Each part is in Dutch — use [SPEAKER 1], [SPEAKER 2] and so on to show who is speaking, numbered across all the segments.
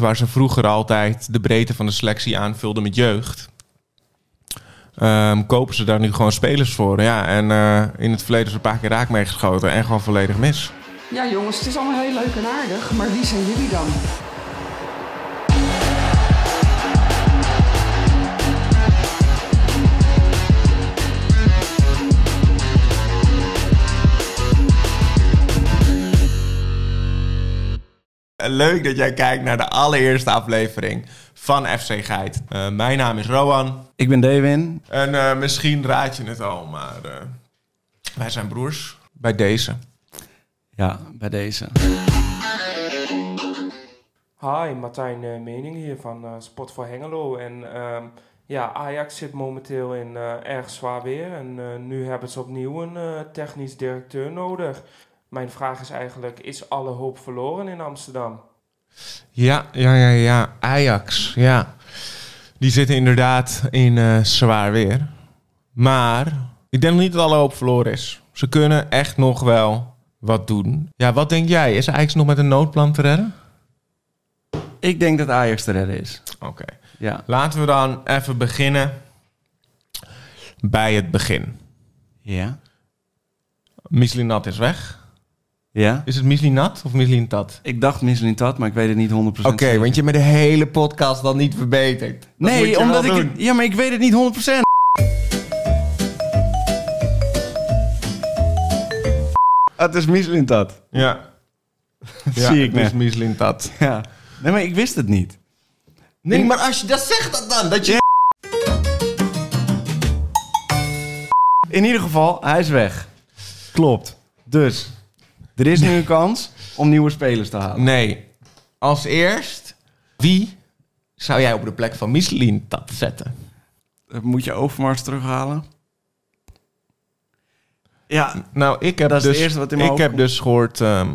[SPEAKER 1] Waar ze vroeger altijd de breedte van de selectie aanvulden met jeugd. ehm, kopen ze daar nu gewoon spelers voor. Ja, en eh, in het verleden is er een paar keer raak mee geschoten. En gewoon volledig mis.
[SPEAKER 2] Ja, jongens, het is allemaal heel leuk en aardig, maar wie zijn jullie dan?
[SPEAKER 1] Eh, Leuk dat jij kijkt naar de allereerste aflevering van FC Geit. Eh, mijn naam is Roan.
[SPEAKER 3] Ik ben Dewin.
[SPEAKER 1] En eh, misschien raad je het al, maar eh, wij zijn broers. Bij deze.
[SPEAKER 3] Ja, bij deze.
[SPEAKER 4] Hi, Martijn eh, Mening hier van eh, Sport voor Hengelo. En ehm, ja, Ajax zit momenteel in eh, erg zwaar weer. En eh, nu hebben ze opnieuw een eh, technisch directeur nodig. Mijn vraag is eigenlijk, is alle hoop verloren in Amsterdam?
[SPEAKER 1] Ja, ja, ja, ja. Ajax, ja. Die zitten inderdaad in eh, zwaar weer. Maar ik denk nog niet dat alle hoop verloren is. Ze kunnen echt nog wel wat doen. Ja, wat denk jij? Is Ajax nog met een noodplan te redden?
[SPEAKER 3] Ik denk dat Ajax te redden is.
[SPEAKER 1] Oké.
[SPEAKER 3] Ja.
[SPEAKER 1] Laten we dan even beginnen bij het begin.
[SPEAKER 3] Ja?
[SPEAKER 1] Mislinat is weg.
[SPEAKER 3] Ja?
[SPEAKER 1] Is het Mislinat of Mislintat?
[SPEAKER 3] Ik dacht misschien dat, maar ik weet het niet 100%
[SPEAKER 1] Oké, want je hebt me de hele podcast dan niet verbeterd. Dat moet je
[SPEAKER 3] Nee, omdat
[SPEAKER 1] wel
[SPEAKER 3] ik...
[SPEAKER 1] doen.
[SPEAKER 3] het- Ja, maar ik weet het niet 100%. Het is misschien dat.
[SPEAKER 1] Ja. Ja,
[SPEAKER 3] zie ik
[SPEAKER 1] het is
[SPEAKER 3] net.
[SPEAKER 1] dus Mislintat.
[SPEAKER 3] Ja. Nee, maar ik wist het niet.
[SPEAKER 1] Nee, maar als je dat zegt dat dan, dat je...
[SPEAKER 3] In ieder geval, hij is weg. Klopt. Dus, er is nu een kans om nieuwe spelers te halen.
[SPEAKER 1] Nee. Als eerst, wie zou jij op de plek van Michelin dat zetten?
[SPEAKER 3] Moet je Overmars terughalen? Ja,
[SPEAKER 1] Nou, ik heb
[SPEAKER 3] Dat is het
[SPEAKER 1] dus,
[SPEAKER 3] eerste wat in me
[SPEAKER 1] ik heb
[SPEAKER 3] opkomt.
[SPEAKER 1] dus gehoord... ehm,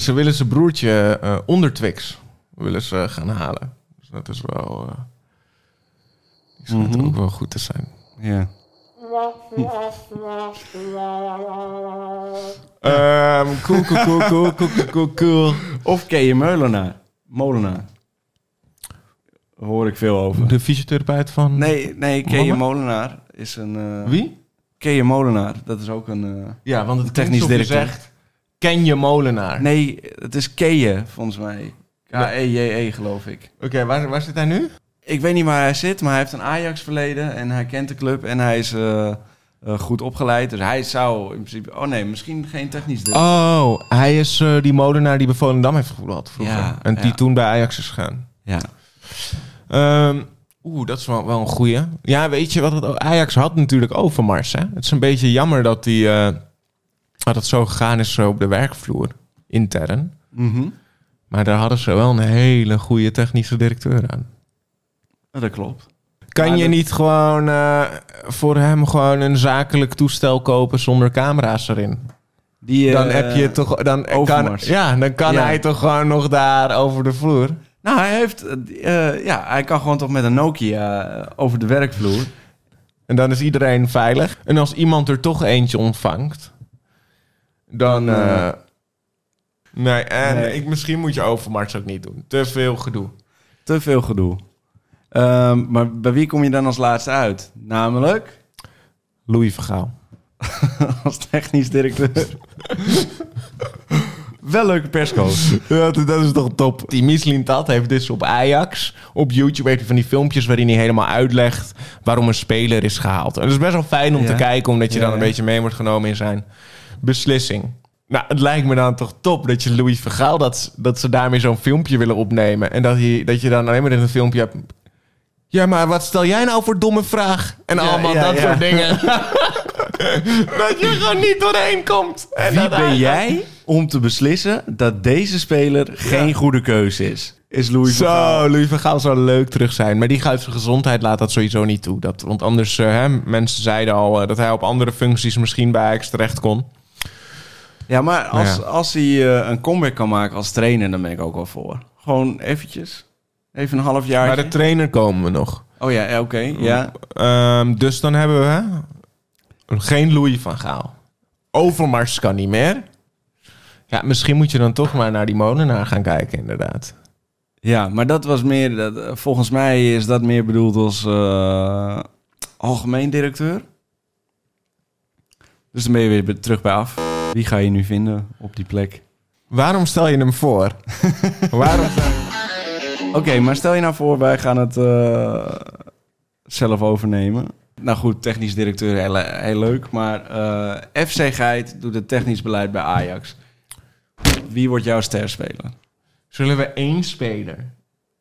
[SPEAKER 1] ze willen zijn broertje eh onder Twix willen ze gaan halen. Dus dat is wel... eh die schijnt
[SPEAKER 3] Mhm.
[SPEAKER 1] ook wel goed te zijn.
[SPEAKER 3] ja.
[SPEAKER 1] Ehm, cool, cool, cool, cool, cool, cool, cool, cool.
[SPEAKER 3] Of Keje Molenaar. Molenaar. Daar hoor ik veel over.
[SPEAKER 1] De fysiotherapeut van...
[SPEAKER 3] Nee, nee Keje
[SPEAKER 1] Molle?
[SPEAKER 3] Molenaar is een... eh,
[SPEAKER 1] Wie?
[SPEAKER 3] Keje Molenaar, dat is ook een... eh,
[SPEAKER 1] Ja, want het
[SPEAKER 3] Technisch
[SPEAKER 1] technisch directeur.
[SPEAKER 3] directeur.
[SPEAKER 1] zegt, ken je molenaar?
[SPEAKER 3] nee, het is Keje, volgens mij. K-E-J-E, E, geloof ik.
[SPEAKER 1] Oké, waar, waar zit hij nu?
[SPEAKER 3] Ik weet niet waar hij zit, maar hij heeft een Ajax-verleden en hij kent de club en hij is eh, eh, goed opgeleid. Dus hij zou in principe... Oh nee, misschien geen technisch directeur.
[SPEAKER 1] Oh, hij is eh, die molenaar die bij Volendam heeft gevoetbald vroeger.
[SPEAKER 3] Ja,
[SPEAKER 1] en die
[SPEAKER 3] ja.
[SPEAKER 1] toen bij Ajax is gegaan.
[SPEAKER 3] Ja.
[SPEAKER 1] Ehm, Oeh, dat is wel, wel een goeie. Ja, weet je wat? Het, ook- Ajax had natuurlijk Overmars. Hè? Het is een beetje jammer dat, die, eh, dat het zo gegaan is eh, op de werkvloer intern.
[SPEAKER 3] Mhm.
[SPEAKER 1] Maar daar hadden ze wel een hele goede technische directeur aan.
[SPEAKER 3] Dat klopt.
[SPEAKER 1] Kan
[SPEAKER 3] Maar
[SPEAKER 1] je
[SPEAKER 3] dat-
[SPEAKER 1] niet gewoon eh, voor hem gewoon een zakelijk toestel kopen zonder camera's erin?
[SPEAKER 3] Die, eh,
[SPEAKER 1] dan heb je toch dan kan,
[SPEAKER 3] Overmars.
[SPEAKER 1] ja, dan kan
[SPEAKER 3] Ja.
[SPEAKER 1] hij toch gewoon nog daar over de vloer.
[SPEAKER 3] Nou, hij heeft... eh, die, eh, ja, hij kan gewoon toch met een Nokia eh, over de werkvloer.
[SPEAKER 1] En dan is iedereen veilig. En als iemand er toch eentje ontvangt, dan.
[SPEAKER 3] Dan,
[SPEAKER 1] eh,
[SPEAKER 3] eh,
[SPEAKER 1] nee, en
[SPEAKER 3] nee.
[SPEAKER 1] Ik, misschien moet je overmars ook niet doen. Te veel gedoe.
[SPEAKER 3] Te veel gedoe. Ehm, maar bij wie kom je dan als laatste uit? Namelijk
[SPEAKER 1] Louis Vergaal.
[SPEAKER 3] als technisch directeur. Wel leuke perscoach.
[SPEAKER 1] Dat, dat is toch top. Die Michelin Tat heeft dus op Ajax, op YouTube, heeft hij van die filmpjes waarin hij helemaal uitlegt waarom een speler is gehaald. En dat is best wel fijn om
[SPEAKER 3] Ja.
[SPEAKER 1] te kijken, omdat je
[SPEAKER 3] Ja,
[SPEAKER 1] dan een
[SPEAKER 3] ja.
[SPEAKER 1] beetje mee wordt genomen in zijn beslissing. Nou, het lijkt me dan toch top dat je Louis Vergaal, dat, dat ze daarmee zo'n filmpje willen opnemen. En dat, hij, dat je dan alleen maar in een filmpje hebt. Ja, maar wat stel jij nou voor domme vraag? En
[SPEAKER 3] Ja,
[SPEAKER 1] allemaal
[SPEAKER 3] ja,
[SPEAKER 1] dat
[SPEAKER 3] ja.
[SPEAKER 1] soort dingen. dat je gewoon niet doorheen komt. En
[SPEAKER 3] Wie
[SPEAKER 1] dat
[SPEAKER 3] ben
[SPEAKER 1] hij-
[SPEAKER 3] jij om te beslissen dat deze speler geen goede keuze is? Is Louis van Gaal.
[SPEAKER 1] Zo, Louis van Gaal zou leuk terug zijn. Maar die gaat zijn gezondheid laat dat sowieso niet toe. Dat, want anders, eh, hè, mensen zeiden al eh, dat hij op andere functies misschien bij Ajax terecht kon.
[SPEAKER 3] Ja, maar als,
[SPEAKER 1] Ja.
[SPEAKER 3] als hij eh, een comeback kan maken als trainer, dan ben ik ook wel voor. Gewoon eventjes. Even een half jaar.
[SPEAKER 1] Maar de trainer komen we nog.
[SPEAKER 3] Oh ja, ja, oké. Ja.
[SPEAKER 1] Ehm, dus dan hebben we hè, geen Louis van Gaal. Overmars kan niet meer. Ja, misschien moet je dan toch maar naar die Molenaar gaan kijken, inderdaad.
[SPEAKER 3] Ja, maar dat was meer. Dat, eh, volgens mij is dat meer bedoeld als eh, algemeen directeur. Dus dan ben je weer be- terug bij af. Wie ga je nu vinden op die plek?
[SPEAKER 1] Waarom stel je hem voor? Waarom?
[SPEAKER 3] Oké, maar stel je nou voor, wij gaan het eh, zelf overnemen. Nou goed, technisch directeur, heel, heel leuk. Maar eh, FC Geit doet het technisch beleid bij Ajax. Wie wordt jouw ster spelen?
[SPEAKER 1] Zullen we één speler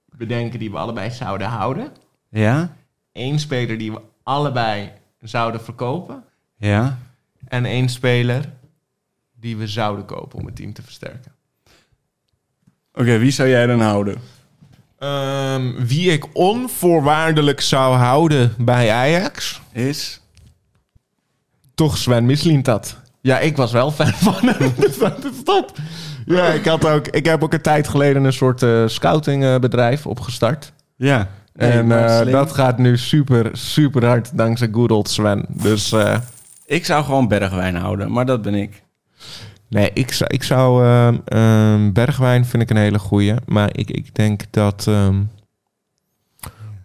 [SPEAKER 1] bedenken die we allebei zouden houden?
[SPEAKER 3] Ja?
[SPEAKER 1] Eén speler die we allebei zouden verkopen?
[SPEAKER 3] Ja?
[SPEAKER 1] En één speler die we zouden kopen om het team te versterken?
[SPEAKER 3] Oké, wie zou jij dan houden?
[SPEAKER 1] Ehm, wie ik onvoorwaardelijk zou houden bij Ajax?
[SPEAKER 3] Is?
[SPEAKER 1] Toch Sven Mislintat. Ja, ik was wel fan van hem. Dus dat is top. Ja, ik, had ook, ik heb ook een tijd geleden een soort eh, scoutingbedrijf opgestart.
[SPEAKER 3] Ja.
[SPEAKER 1] en eh, dat gaat nu super, super hard dankzij good old Sven. Dus eh,
[SPEAKER 3] Ik zou gewoon Bergwijn houden, maar dat ben ik.
[SPEAKER 1] nee, ik, zou- ik zou... ehm, ehm, Bergwijn vind ik een hele goeie. Maar ik, ik denk dat... ehm,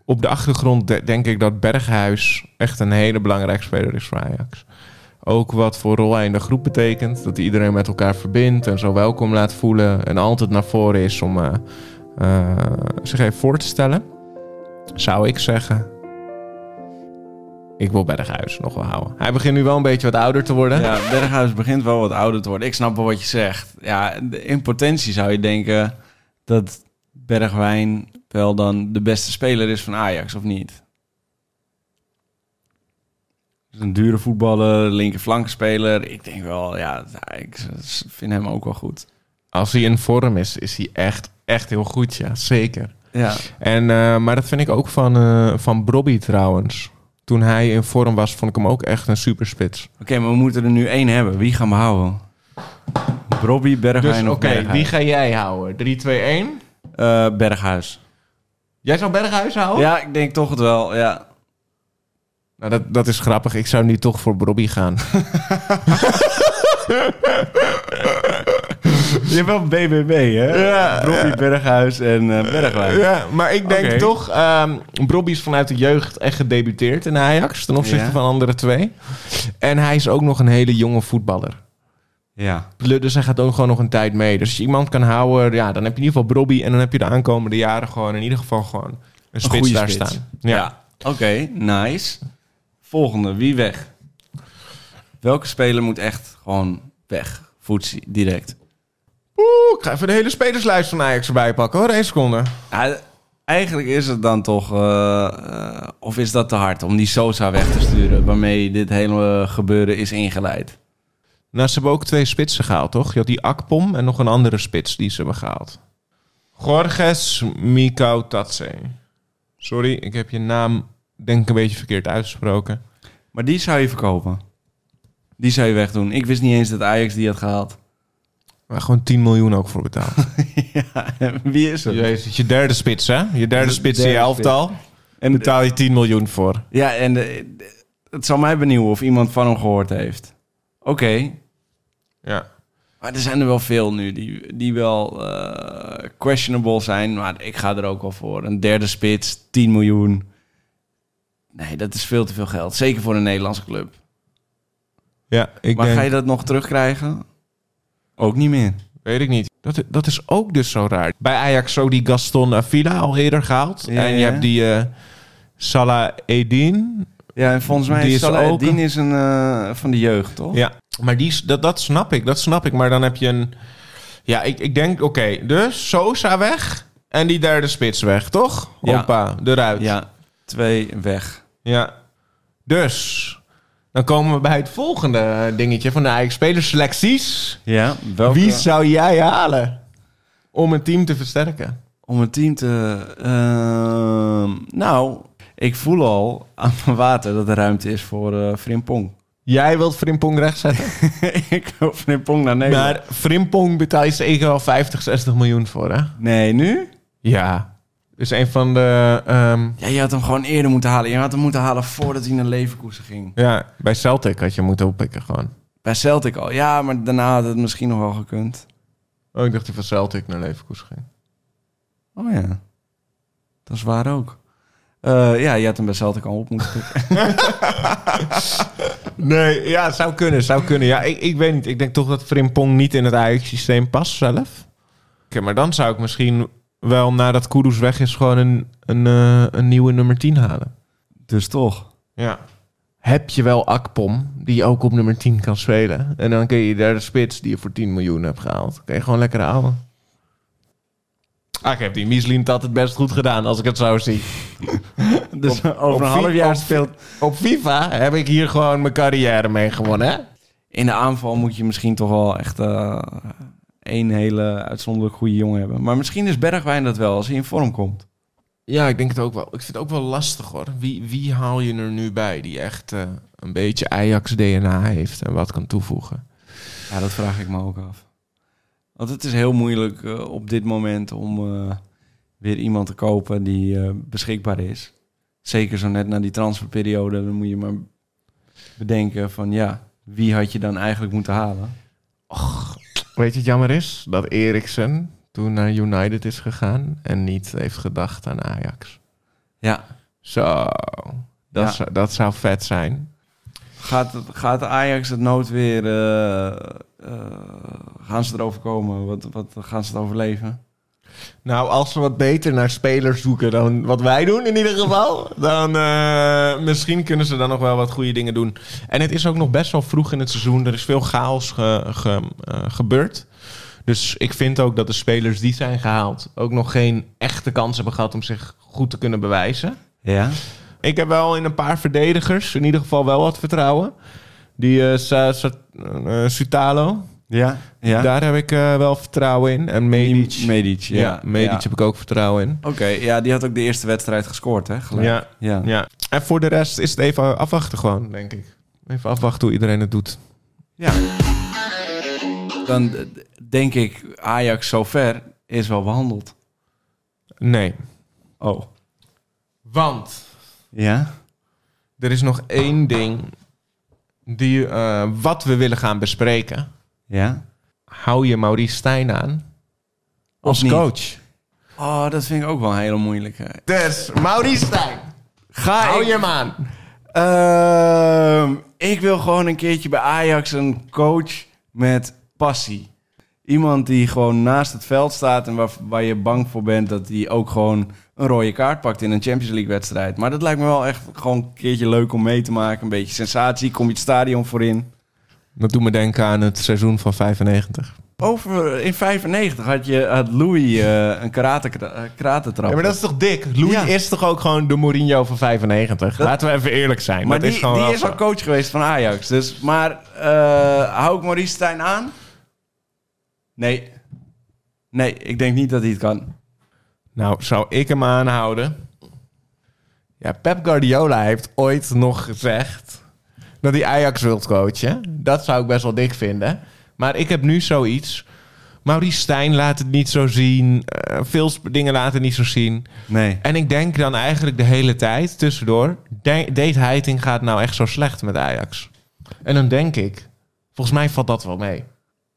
[SPEAKER 1] op de achtergrond de- denk ik dat Berghuis echt een hele belangrijke speler is voor Ajax. Ook wat voor rol hij in de groep betekent. Dat hij iedereen met elkaar verbindt en zo welkom laat voelen. En altijd naar voren is om eh, eh, zich even voor te stellen. Zou ik zeggen... Ik wil Berghuis nog wel houden. Hij begint nu wel een beetje wat ouder te worden.
[SPEAKER 3] Ja, Berghuis begint wel wat ouder te worden. Ik snap wel wat je zegt. Ja, de- in potentie zou je denken dat Bergwijn wel dan de beste speler is van Ajax, of niet? Dus een dure voetballer, linkerflankspeler. Ik denk wel, ja, ik s- vind hem ook wel goed.
[SPEAKER 1] Als hij in vorm is, is hij echt, echt heel goed, ja, zeker.
[SPEAKER 3] Ja,
[SPEAKER 1] En, eh, maar dat vind ik ook van, eh van Bobby trouwens. Toen hij in vorm was, vond ik hem ook echt een superspits.
[SPEAKER 3] oké, maar we moeten er nu één hebben. Wie gaan we houden? Robbie, Bergwijn
[SPEAKER 1] Dus oké,
[SPEAKER 3] of Berghuis?
[SPEAKER 1] wie ga jij houden? 3, 2, 1.
[SPEAKER 3] Eh, Berghuis.
[SPEAKER 1] Jij zou Berghuis houden?
[SPEAKER 3] Ja, ik denk toch het wel, ja.
[SPEAKER 1] Nou, dat, dat is grappig. Ik zou nu toch voor Bobby gaan.
[SPEAKER 3] Je hebt wel BBB, hè?
[SPEAKER 1] Ja,
[SPEAKER 3] Robbie Berghuis en eh, Bergwijn.
[SPEAKER 1] Ja, maar ik denk
[SPEAKER 3] Oké.
[SPEAKER 1] toch... ehm Bobby is vanuit de jeugd echt gedebuteerd in Ajax... ten opzichte
[SPEAKER 3] Ja.
[SPEAKER 1] van andere twee. En hij is ook nog een hele jonge voetballer.
[SPEAKER 3] Ja.
[SPEAKER 1] Dus hij gaat ook gewoon nog een tijd mee. Dus als je iemand kan houden, ja, dan heb je in ieder geval Bobby... en dan heb je de aankomende jaren gewoon in ieder geval gewoon... een spits
[SPEAKER 3] goede
[SPEAKER 1] daar
[SPEAKER 3] spits.
[SPEAKER 1] staan.
[SPEAKER 3] Ja. Oké, nice. Volgende, wie weg? Welke speler moet echt gewoon weg? Voetsie, direct.
[SPEAKER 1] Oeh, ik ga even de hele spelerslijst van Ajax erbij pakken hoor. Eén seconde.
[SPEAKER 3] Ja, eigenlijk is het dan toch... eh, eh, of is dat te hard om die Sosa weg te sturen... waarmee dit hele gebeuren is ingeleid?
[SPEAKER 1] Nou, ze hebben ook twee spitsen gehaald, toch? Je had die Akpom en nog een andere spits die ze hebben gehaald. Gorges Mikautadze. Sorry, ik heb je naam denk ik een beetje verkeerd uitgesproken.
[SPEAKER 3] Maar die zou je verkopen. Die zou je wegdoen. Ik wist niet eens dat Ajax die had gehaald.
[SPEAKER 1] Maar gewoon 10 miljoen ook voor betaald.
[SPEAKER 3] ja, wie is het?
[SPEAKER 1] Jezus, je derde spits, hè? Je derde
[SPEAKER 3] De
[SPEAKER 1] spits in je
[SPEAKER 3] derde
[SPEAKER 1] elftal. En
[SPEAKER 3] En de-
[SPEAKER 1] betaal je 10 miljoen voor.
[SPEAKER 3] Ja, en de- de- het zal mij benieuwen of iemand van hem gehoord heeft. Oké,
[SPEAKER 1] Ja.
[SPEAKER 3] maar er zijn er wel veel nu die, die wel eh, questionable zijn. Maar ik ga er ook wel voor. Een derde spits, 10 miljoen. Nee, dat is veel te veel geld. Zeker voor een Nederlandse club.
[SPEAKER 1] Ja, ik
[SPEAKER 3] maar
[SPEAKER 1] denk...
[SPEAKER 3] ga je dat nog terugkrijgen? Ook niet meer.
[SPEAKER 1] Weet ik niet. Dat, dat is ook dus zo raar. Bij Ajax zo die Gaston Avila al eerder gehaald.
[SPEAKER 3] Ja,
[SPEAKER 1] en je
[SPEAKER 3] ja.
[SPEAKER 1] hebt die eh, Salah Edin.
[SPEAKER 3] Ja, en volgens mij
[SPEAKER 1] Die
[SPEAKER 3] is
[SPEAKER 1] is
[SPEAKER 3] Salah
[SPEAKER 1] ook
[SPEAKER 3] Eddin is een eh, van de jeugd, toch?
[SPEAKER 1] Ja, maar die, is- dat, dat snap ik, dat snap ik. Maar dan heb je een... Ja, ik, ik denk, oké, dus Sosa weg en die derde spits weg, toch?
[SPEAKER 3] Ja.
[SPEAKER 1] Hoppa, eruit.
[SPEAKER 3] ja twee weg.
[SPEAKER 1] Ja. Dus, dan komen we bij het volgende eh, dingetje van de eigen spelerselecties.
[SPEAKER 3] Ja, welke?
[SPEAKER 1] Wie zou jij halen om een team te versterken?
[SPEAKER 3] Om een team te... ehm, nou, ik voel al aan mijn water dat er ruimte is voor eh Frimpong.
[SPEAKER 1] Jij wilt Frimpong rechtzetten?
[SPEAKER 3] ik wil Frimpong naar Nederland.
[SPEAKER 1] Maar Frimpong betaal je zeker wel 50, 60 miljoen voor, hè?
[SPEAKER 3] Nee, nu?
[SPEAKER 1] Ja. Is een van de... ehm,
[SPEAKER 3] Ja, je had hem gewoon eerder moeten halen. Je had hem moeten halen voordat hij naar Leverkusen ging.
[SPEAKER 1] ja, bij Celtic had je moeten oppikken gewoon.
[SPEAKER 3] Bij Celtic al. Ja, maar daarna had het misschien nog wel gekund.
[SPEAKER 1] Oh, ik dacht die van Celtic naar Leverkusen ging.
[SPEAKER 3] Oh ja. Dat is waar ook. Eh, ja, je had hem bij Celtic al op moeten pikken.
[SPEAKER 1] Nee, ja, zou kunnen, zou kunnen. Ja, ik, ik weet niet. Ik denk toch dat Frimpong niet in het Ajax-systeem past zelf. Oké, maar dan zou ik misschien wel nadat Kudus weg is... gewoon een, een, eh, een nieuwe nummer 10 halen.
[SPEAKER 3] Dus toch.
[SPEAKER 1] Ja. Heb je wel Akpom, die ook op nummer 10 kan spelen. En dan kun je daar de spits die je voor 10 miljoen hebt gehaald. Kun je gewoon lekker halen. Ah, ik heb die Mieslint dat het best goed gedaan, als ik het zo zie.
[SPEAKER 3] Dus over
[SPEAKER 1] op
[SPEAKER 3] een
[SPEAKER 1] vi-
[SPEAKER 3] half jaar
[SPEAKER 1] op
[SPEAKER 3] speelt...
[SPEAKER 1] Op FIFA heb ik hier gewoon mijn carrière mee gewonnen, hè?
[SPEAKER 3] In de aanval moet je misschien toch wel echt eh, één hele uitzonderlijk goede jongen hebben. Maar misschien is Bergwijn dat wel, als hij in vorm komt.
[SPEAKER 1] Ja, ik denk het ook wel. Ik vind het ook wel lastig hoor. Wie, wie haal je er nu bij die echt eh, een beetje Ajax-DNA heeft en wat kan toevoegen?
[SPEAKER 3] Ja, dat vraag ik me ook af. Want het is heel moeilijk eh, op dit moment om eh, weer iemand te kopen die eh, beschikbaar is. Zeker zo net na die transferperiode, dan moet je maar bedenken van ja, wie had je dan eigenlijk moeten halen?
[SPEAKER 1] Weet je, het jammer is dat Eriksen toen naar United is gegaan en niet heeft gedacht aan Ajax.
[SPEAKER 3] Ja,
[SPEAKER 1] Zo, dat,
[SPEAKER 3] Ja.
[SPEAKER 1] zou, dat zou vet zijn.
[SPEAKER 3] gaat, het- gaat Ajax het nood weer, eh, eh, gaan ze erover komen? Wat, wat gaan ze het overleven?
[SPEAKER 1] Nou, als we wat beter naar spelers zoeken dan wat wij doen in ieder geval, dan eh, misschien kunnen ze dan nog wel wat goede dingen doen. En het is ook nog best wel vroeg in het seizoen. Er is veel chaos ge- ge- eh, gebeurd. Dus ik vind ook dat de spelers die zijn gehaald ook nog geen echte kans hebben gehad om zich goed te kunnen bewijzen.
[SPEAKER 3] Ja?
[SPEAKER 1] Ik heb wel in een paar verdedigers in ieder geval wel wat vertrouwen. Die eh, Sa- Sa- eh, Sutalo,
[SPEAKER 3] Ja? Ja?
[SPEAKER 1] daar heb ik eh, wel vertrouwen in. En Medic.
[SPEAKER 3] Medic,
[SPEAKER 1] ja,
[SPEAKER 3] ja.
[SPEAKER 1] Medic
[SPEAKER 3] Ja.
[SPEAKER 1] heb ik ook vertrouwen in.
[SPEAKER 3] Oké, ja, die had ook de eerste wedstrijd gescoord, hè? gelijk.
[SPEAKER 1] Ja,
[SPEAKER 3] ja.
[SPEAKER 1] ja. En voor de rest is het even afwachten gewoon, denk ik. Even afwachten hoe iedereen het doet.
[SPEAKER 3] dan eh, denk ik Ajax zover is wel behandeld.
[SPEAKER 1] Nee.
[SPEAKER 3] Oh.
[SPEAKER 1] Want
[SPEAKER 3] Ja?
[SPEAKER 1] er is nog één ding die, eh, wat we willen gaan bespreken.
[SPEAKER 3] Ja?
[SPEAKER 1] Hou je Maurice Stijn aan als
[SPEAKER 3] niet?
[SPEAKER 1] coach?
[SPEAKER 3] Oh, dat vind ik ook wel een hele moeilijke.
[SPEAKER 1] Dus, Maurice Stijn,
[SPEAKER 3] Ga
[SPEAKER 1] hou
[SPEAKER 3] ik...
[SPEAKER 1] je hem aan.
[SPEAKER 3] Ehm, ik wil gewoon een keertje bij Ajax een coach met passie. Iemand die gewoon naast het veld staat en waar, waar je bang voor bent dat hij ook gewoon een rode kaart pakt in een Champions League wedstrijd. Maar dat lijkt me wel echt gewoon een keertje leuk om mee te maken. Een beetje sensatie, kom je het stadion voor in.
[SPEAKER 1] Dat doet me denken aan het seizoen van 95.
[SPEAKER 3] Over in 95 had je had Louis eh, een karate karate trap.
[SPEAKER 1] Ja, maar dat is toch dik? Louis
[SPEAKER 3] Oh. Ja.
[SPEAKER 1] is toch ook gewoon de Mourinho van 95?
[SPEAKER 3] Dat-
[SPEAKER 1] Laten we even eerlijk zijn.
[SPEAKER 3] Maar
[SPEAKER 1] dat
[SPEAKER 3] die,
[SPEAKER 1] is gewoon
[SPEAKER 3] die
[SPEAKER 1] wel
[SPEAKER 3] is
[SPEAKER 1] zo.
[SPEAKER 3] al coach geweest van Ajax. Dus, maar eh, hou ik Maurice Stijn aan? Nee. Nee, ik denk niet dat hij het kan.
[SPEAKER 1] Nou, zou ik hem aanhouden? Ja, Pep Guardiola heeft ooit nog gezegd dat hij Ajax wilt coachen. Dat zou ik best wel dik vinden. Maar ik heb nu zoiets. Maurice Stijn laat het niet zo zien. Eh, veel sp- dingen laten het niet zo zien.
[SPEAKER 3] Nee.
[SPEAKER 1] En ik denk dan eigenlijk de hele tijd tussendoor... de- deed Heiting gaat nou echt zo slecht met Ajax? En dan denk ik, volgens mij valt dat wel mee.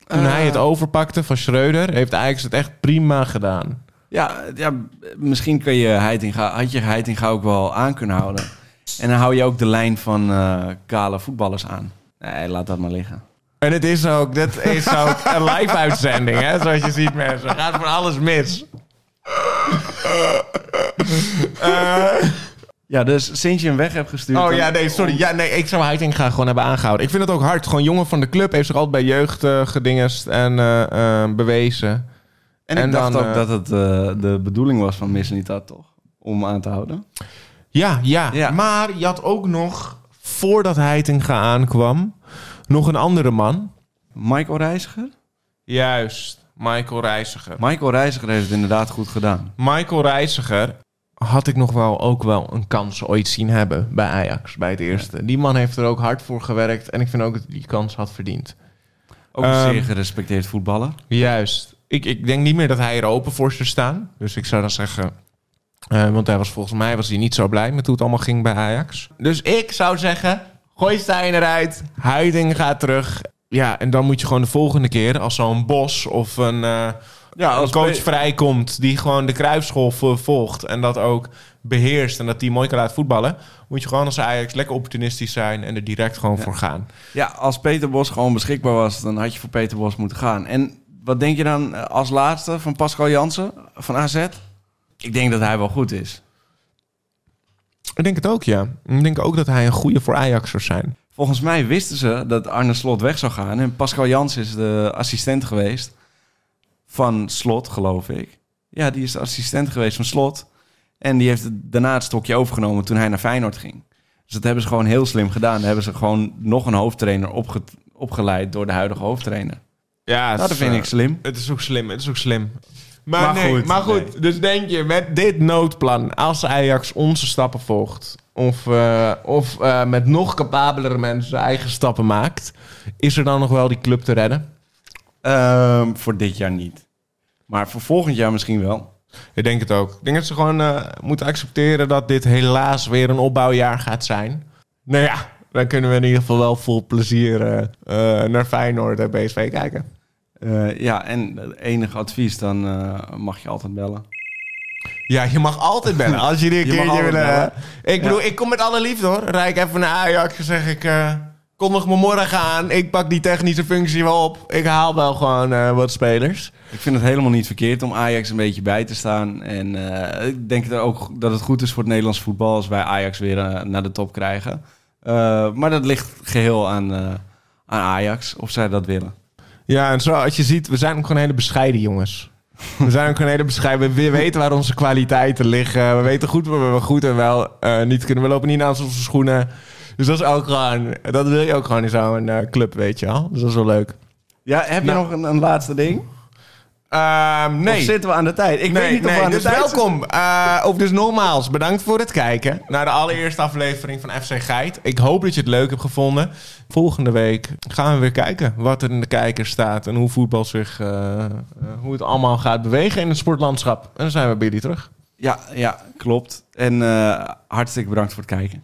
[SPEAKER 1] Toen
[SPEAKER 3] Eh.
[SPEAKER 1] hij het overpakte van Schreuder... heeft Ajax het echt prima gedaan.
[SPEAKER 3] Ja, ja misschien kun je Heitinga, had je Heitinga ook wel aan kunnen houden. En dan hou je ook de lijn van eh, kale voetballers aan. Nee, laat dat maar liggen.
[SPEAKER 1] En het is ook, dat is ook een live uitzending, hè? Zoals je ziet, mensen. Gaat voor alles mis.
[SPEAKER 3] Ja, dus sinds je hem weg hebt gestuurd...
[SPEAKER 1] Oh
[SPEAKER 3] dan-
[SPEAKER 1] ja, nee, sorry. Ja, nee, ik zou Heitinga gewoon hebben aangehouden. Ik vind het ook hard. Gewoon jongen van de club heeft zich altijd bij jeugd eh, gedingest en eh, eh, bewezen.
[SPEAKER 3] En ik
[SPEAKER 1] En
[SPEAKER 3] dacht
[SPEAKER 1] dan,
[SPEAKER 3] ook
[SPEAKER 1] eh,
[SPEAKER 3] dat het eh, de bedoeling was van Miss Nita, toch? Om aan te houden.
[SPEAKER 1] Ja, ja,
[SPEAKER 3] Ja.
[SPEAKER 1] Maar je had ook nog, voordat Heitinga aankwam, nog een andere man.
[SPEAKER 3] Michael Reiziger?
[SPEAKER 1] Juist, Michael Reiziger.
[SPEAKER 3] Michael Reiziger heeft het inderdaad goed gedaan.
[SPEAKER 1] Michael Reiziger had ik nog wel ook wel een kans ooit zien hebben bij Ajax, bij het eerste. Die man heeft er ook hard voor gewerkt en ik vind ook dat hij die kans had verdiend.
[SPEAKER 3] Ook een
[SPEAKER 1] Ehm,
[SPEAKER 3] zeer gerespecteerd voetballer.
[SPEAKER 1] Juist. Ik, ik denk niet meer dat hij er open voor zou staan. Dus ik zou dan zeggen... eh, want hij was volgens mij was hij niet zo blij met hoe het allemaal ging bij Ajax. Dus ik zou zeggen, gooi Stijn eruit. Huiding gaat terug. Ja, en dan moet je gewoon de volgende keer, als zo'n Bos of een, eh,
[SPEAKER 3] Ja,
[SPEAKER 1] een coach vrijkomt... die gewoon de kruipschool vo- volgt en dat ook beheerst... en dat die mooi kan laten voetballen... moet je gewoon als Ajax lekker opportunistisch zijn... en er direct gewoon voor gaan.
[SPEAKER 3] Ja, als Peter Bos gewoon beschikbaar was, dan had je voor Peter Bos moeten gaan. En wat denk je dan eh, als laatste van Pascal Jansen van AZ? Ik denk dat hij wel goed is.
[SPEAKER 1] Ik denk het ook, ja. Ik denk ook dat hij een goede voor Ajax zou zijn.
[SPEAKER 3] Volgens mij wisten ze dat Arne Slot weg zou gaan. En Pascal Jansen is de assistent geweest van Slot, geloof ik. Ja, die is de assistent geweest van Slot. En die heeft daarna het stokje overgenomen toen hij naar Feyenoord ging. Dus dat hebben ze gewoon heel slim gedaan. Daar hebben ze gewoon nog een hoofdtrainer opge- opgeleid door de huidige hoofdtrainer.
[SPEAKER 1] Ja,
[SPEAKER 3] Nou, dat vind ik slim.
[SPEAKER 1] Het is ook slim, het is ook slim. Maar,
[SPEAKER 3] Maar
[SPEAKER 1] nee,
[SPEAKER 3] goed,
[SPEAKER 1] maar goed,
[SPEAKER 3] nee.
[SPEAKER 1] dus denk je, met dit noodplan, als Ajax onze stappen volgt, of, eh, of eh, met nog capabelere mensen zijn eigen stappen maakt, is er dan nog wel die club te redden?
[SPEAKER 3] Ehm, voor dit jaar niet. Maar voor volgend jaar misschien wel.
[SPEAKER 1] Ik denk het ook. Ik denk dat ze gewoon eh, moeten accepteren dat dit helaas weer een opbouwjaar gaat zijn. Nou ja, dan kunnen we in ieder geval wel vol plezier eh, eh, naar Feyenoord en PSV kijken.
[SPEAKER 3] Eh, ja, en het enige advies, dan eh, mag je altijd bellen.
[SPEAKER 1] Ja, je mag altijd bellen. Als jullie een
[SPEAKER 3] Je mag
[SPEAKER 1] keertje
[SPEAKER 3] altijd
[SPEAKER 1] willen...
[SPEAKER 3] bellen.
[SPEAKER 1] Ik bedoel, ik kom met alle liefde hoor. Rijd ik even naar Ajax en zeg ik... eh kondig me morgen aan. Ik pak die technische functie wel op. Ik haal wel gewoon eh, wat spelers.
[SPEAKER 3] Ik vind het helemaal niet verkeerd om Ajax een beetje bij te staan. En eh, ik denk dat ook dat het goed is voor het Nederlands voetbal als wij Ajax weer eh, naar de top krijgen. Eh, maar dat ligt geheel aan, eh, aan Ajax, of zij dat willen.
[SPEAKER 1] Ja, en zo als je ziet, we zijn ook gewoon hele bescheiden jongens. We zijn ook gewoon hele bescheiden. We weten waar onze kwaliteiten liggen. We weten goed waar we goed en wel eh, niet kunnen. We lopen niet naast onze schoenen. Dus dat is ook gewoon... Dat wil je ook gewoon in zo'n eh, club, weet je wel. Dus dat is wel leuk.
[SPEAKER 3] Ja, heb
[SPEAKER 1] Nou.
[SPEAKER 3] je nog een, een laatste ding?
[SPEAKER 1] Ehm, nee.
[SPEAKER 3] Of zitten we aan de tijd? Ik weet
[SPEAKER 1] nee,
[SPEAKER 3] niet of we
[SPEAKER 1] nee,
[SPEAKER 3] aan
[SPEAKER 1] dus
[SPEAKER 3] de tijd zitten.
[SPEAKER 1] welkom. Eh, of dus nogmaals, bedankt voor het kijken naar de allereerste aflevering van FC Geit. Ik hoop dat je het leuk hebt gevonden. Volgende week gaan we weer kijken wat er in de kijker staat en hoe voetbal zich, eh, eh, hoe het allemaal gaat bewegen in het sportlandschap. En dan zijn we bij jullie terug.
[SPEAKER 3] Ja, ja, klopt. En eh, hartstikke bedankt voor het kijken.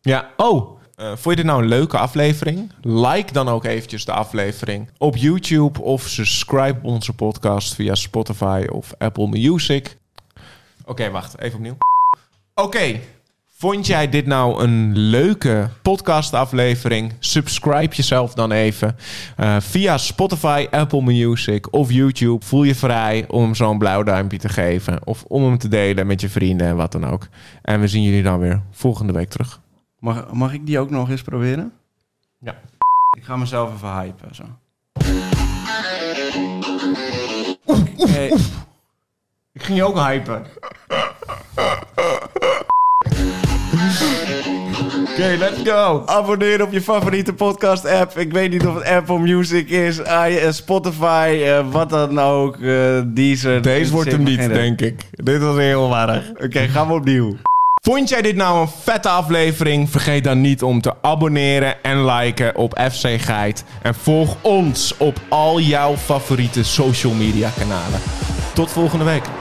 [SPEAKER 1] Ja, oh. eh, vond je dit nou een leuke aflevering? Like dan ook eventjes de aflevering op YouTube of subscribe op onze podcast via Spotify of Apple Music. Oké, wacht, even opnieuw. Oké, vond jij dit nou een leuke podcastaflevering? Subscribe jezelf dan even eh, via Spotify, Apple Music of YouTube. Voel je vrij om zo'n blauw duimpje te geven of om hem te delen met je vrienden en wat dan ook. En we zien jullie dan weer volgende week terug.
[SPEAKER 3] Mag, mag ik die ook nog eens proberen?
[SPEAKER 1] Ja.
[SPEAKER 3] Ik ga mezelf even hypen. Zo. Hey,
[SPEAKER 1] Ik ging je ook hypen. Oké, let's go.
[SPEAKER 3] abonneer op je favoriete podcast app. Ik weet niet of het Apple Music is, i- eh, Spotify, eh, wat dan ook. eh Deezer.
[SPEAKER 1] Deze wordt hem niet, denk ik. Dit was heel waardig.
[SPEAKER 3] Oké, gaan we opnieuw.
[SPEAKER 1] Vond jij dit nou een vette aflevering? Vergeet dan niet om te abonneren en liken op FC Geit. En volg ons op al jouw favoriete social media kanalen. Tot volgende week.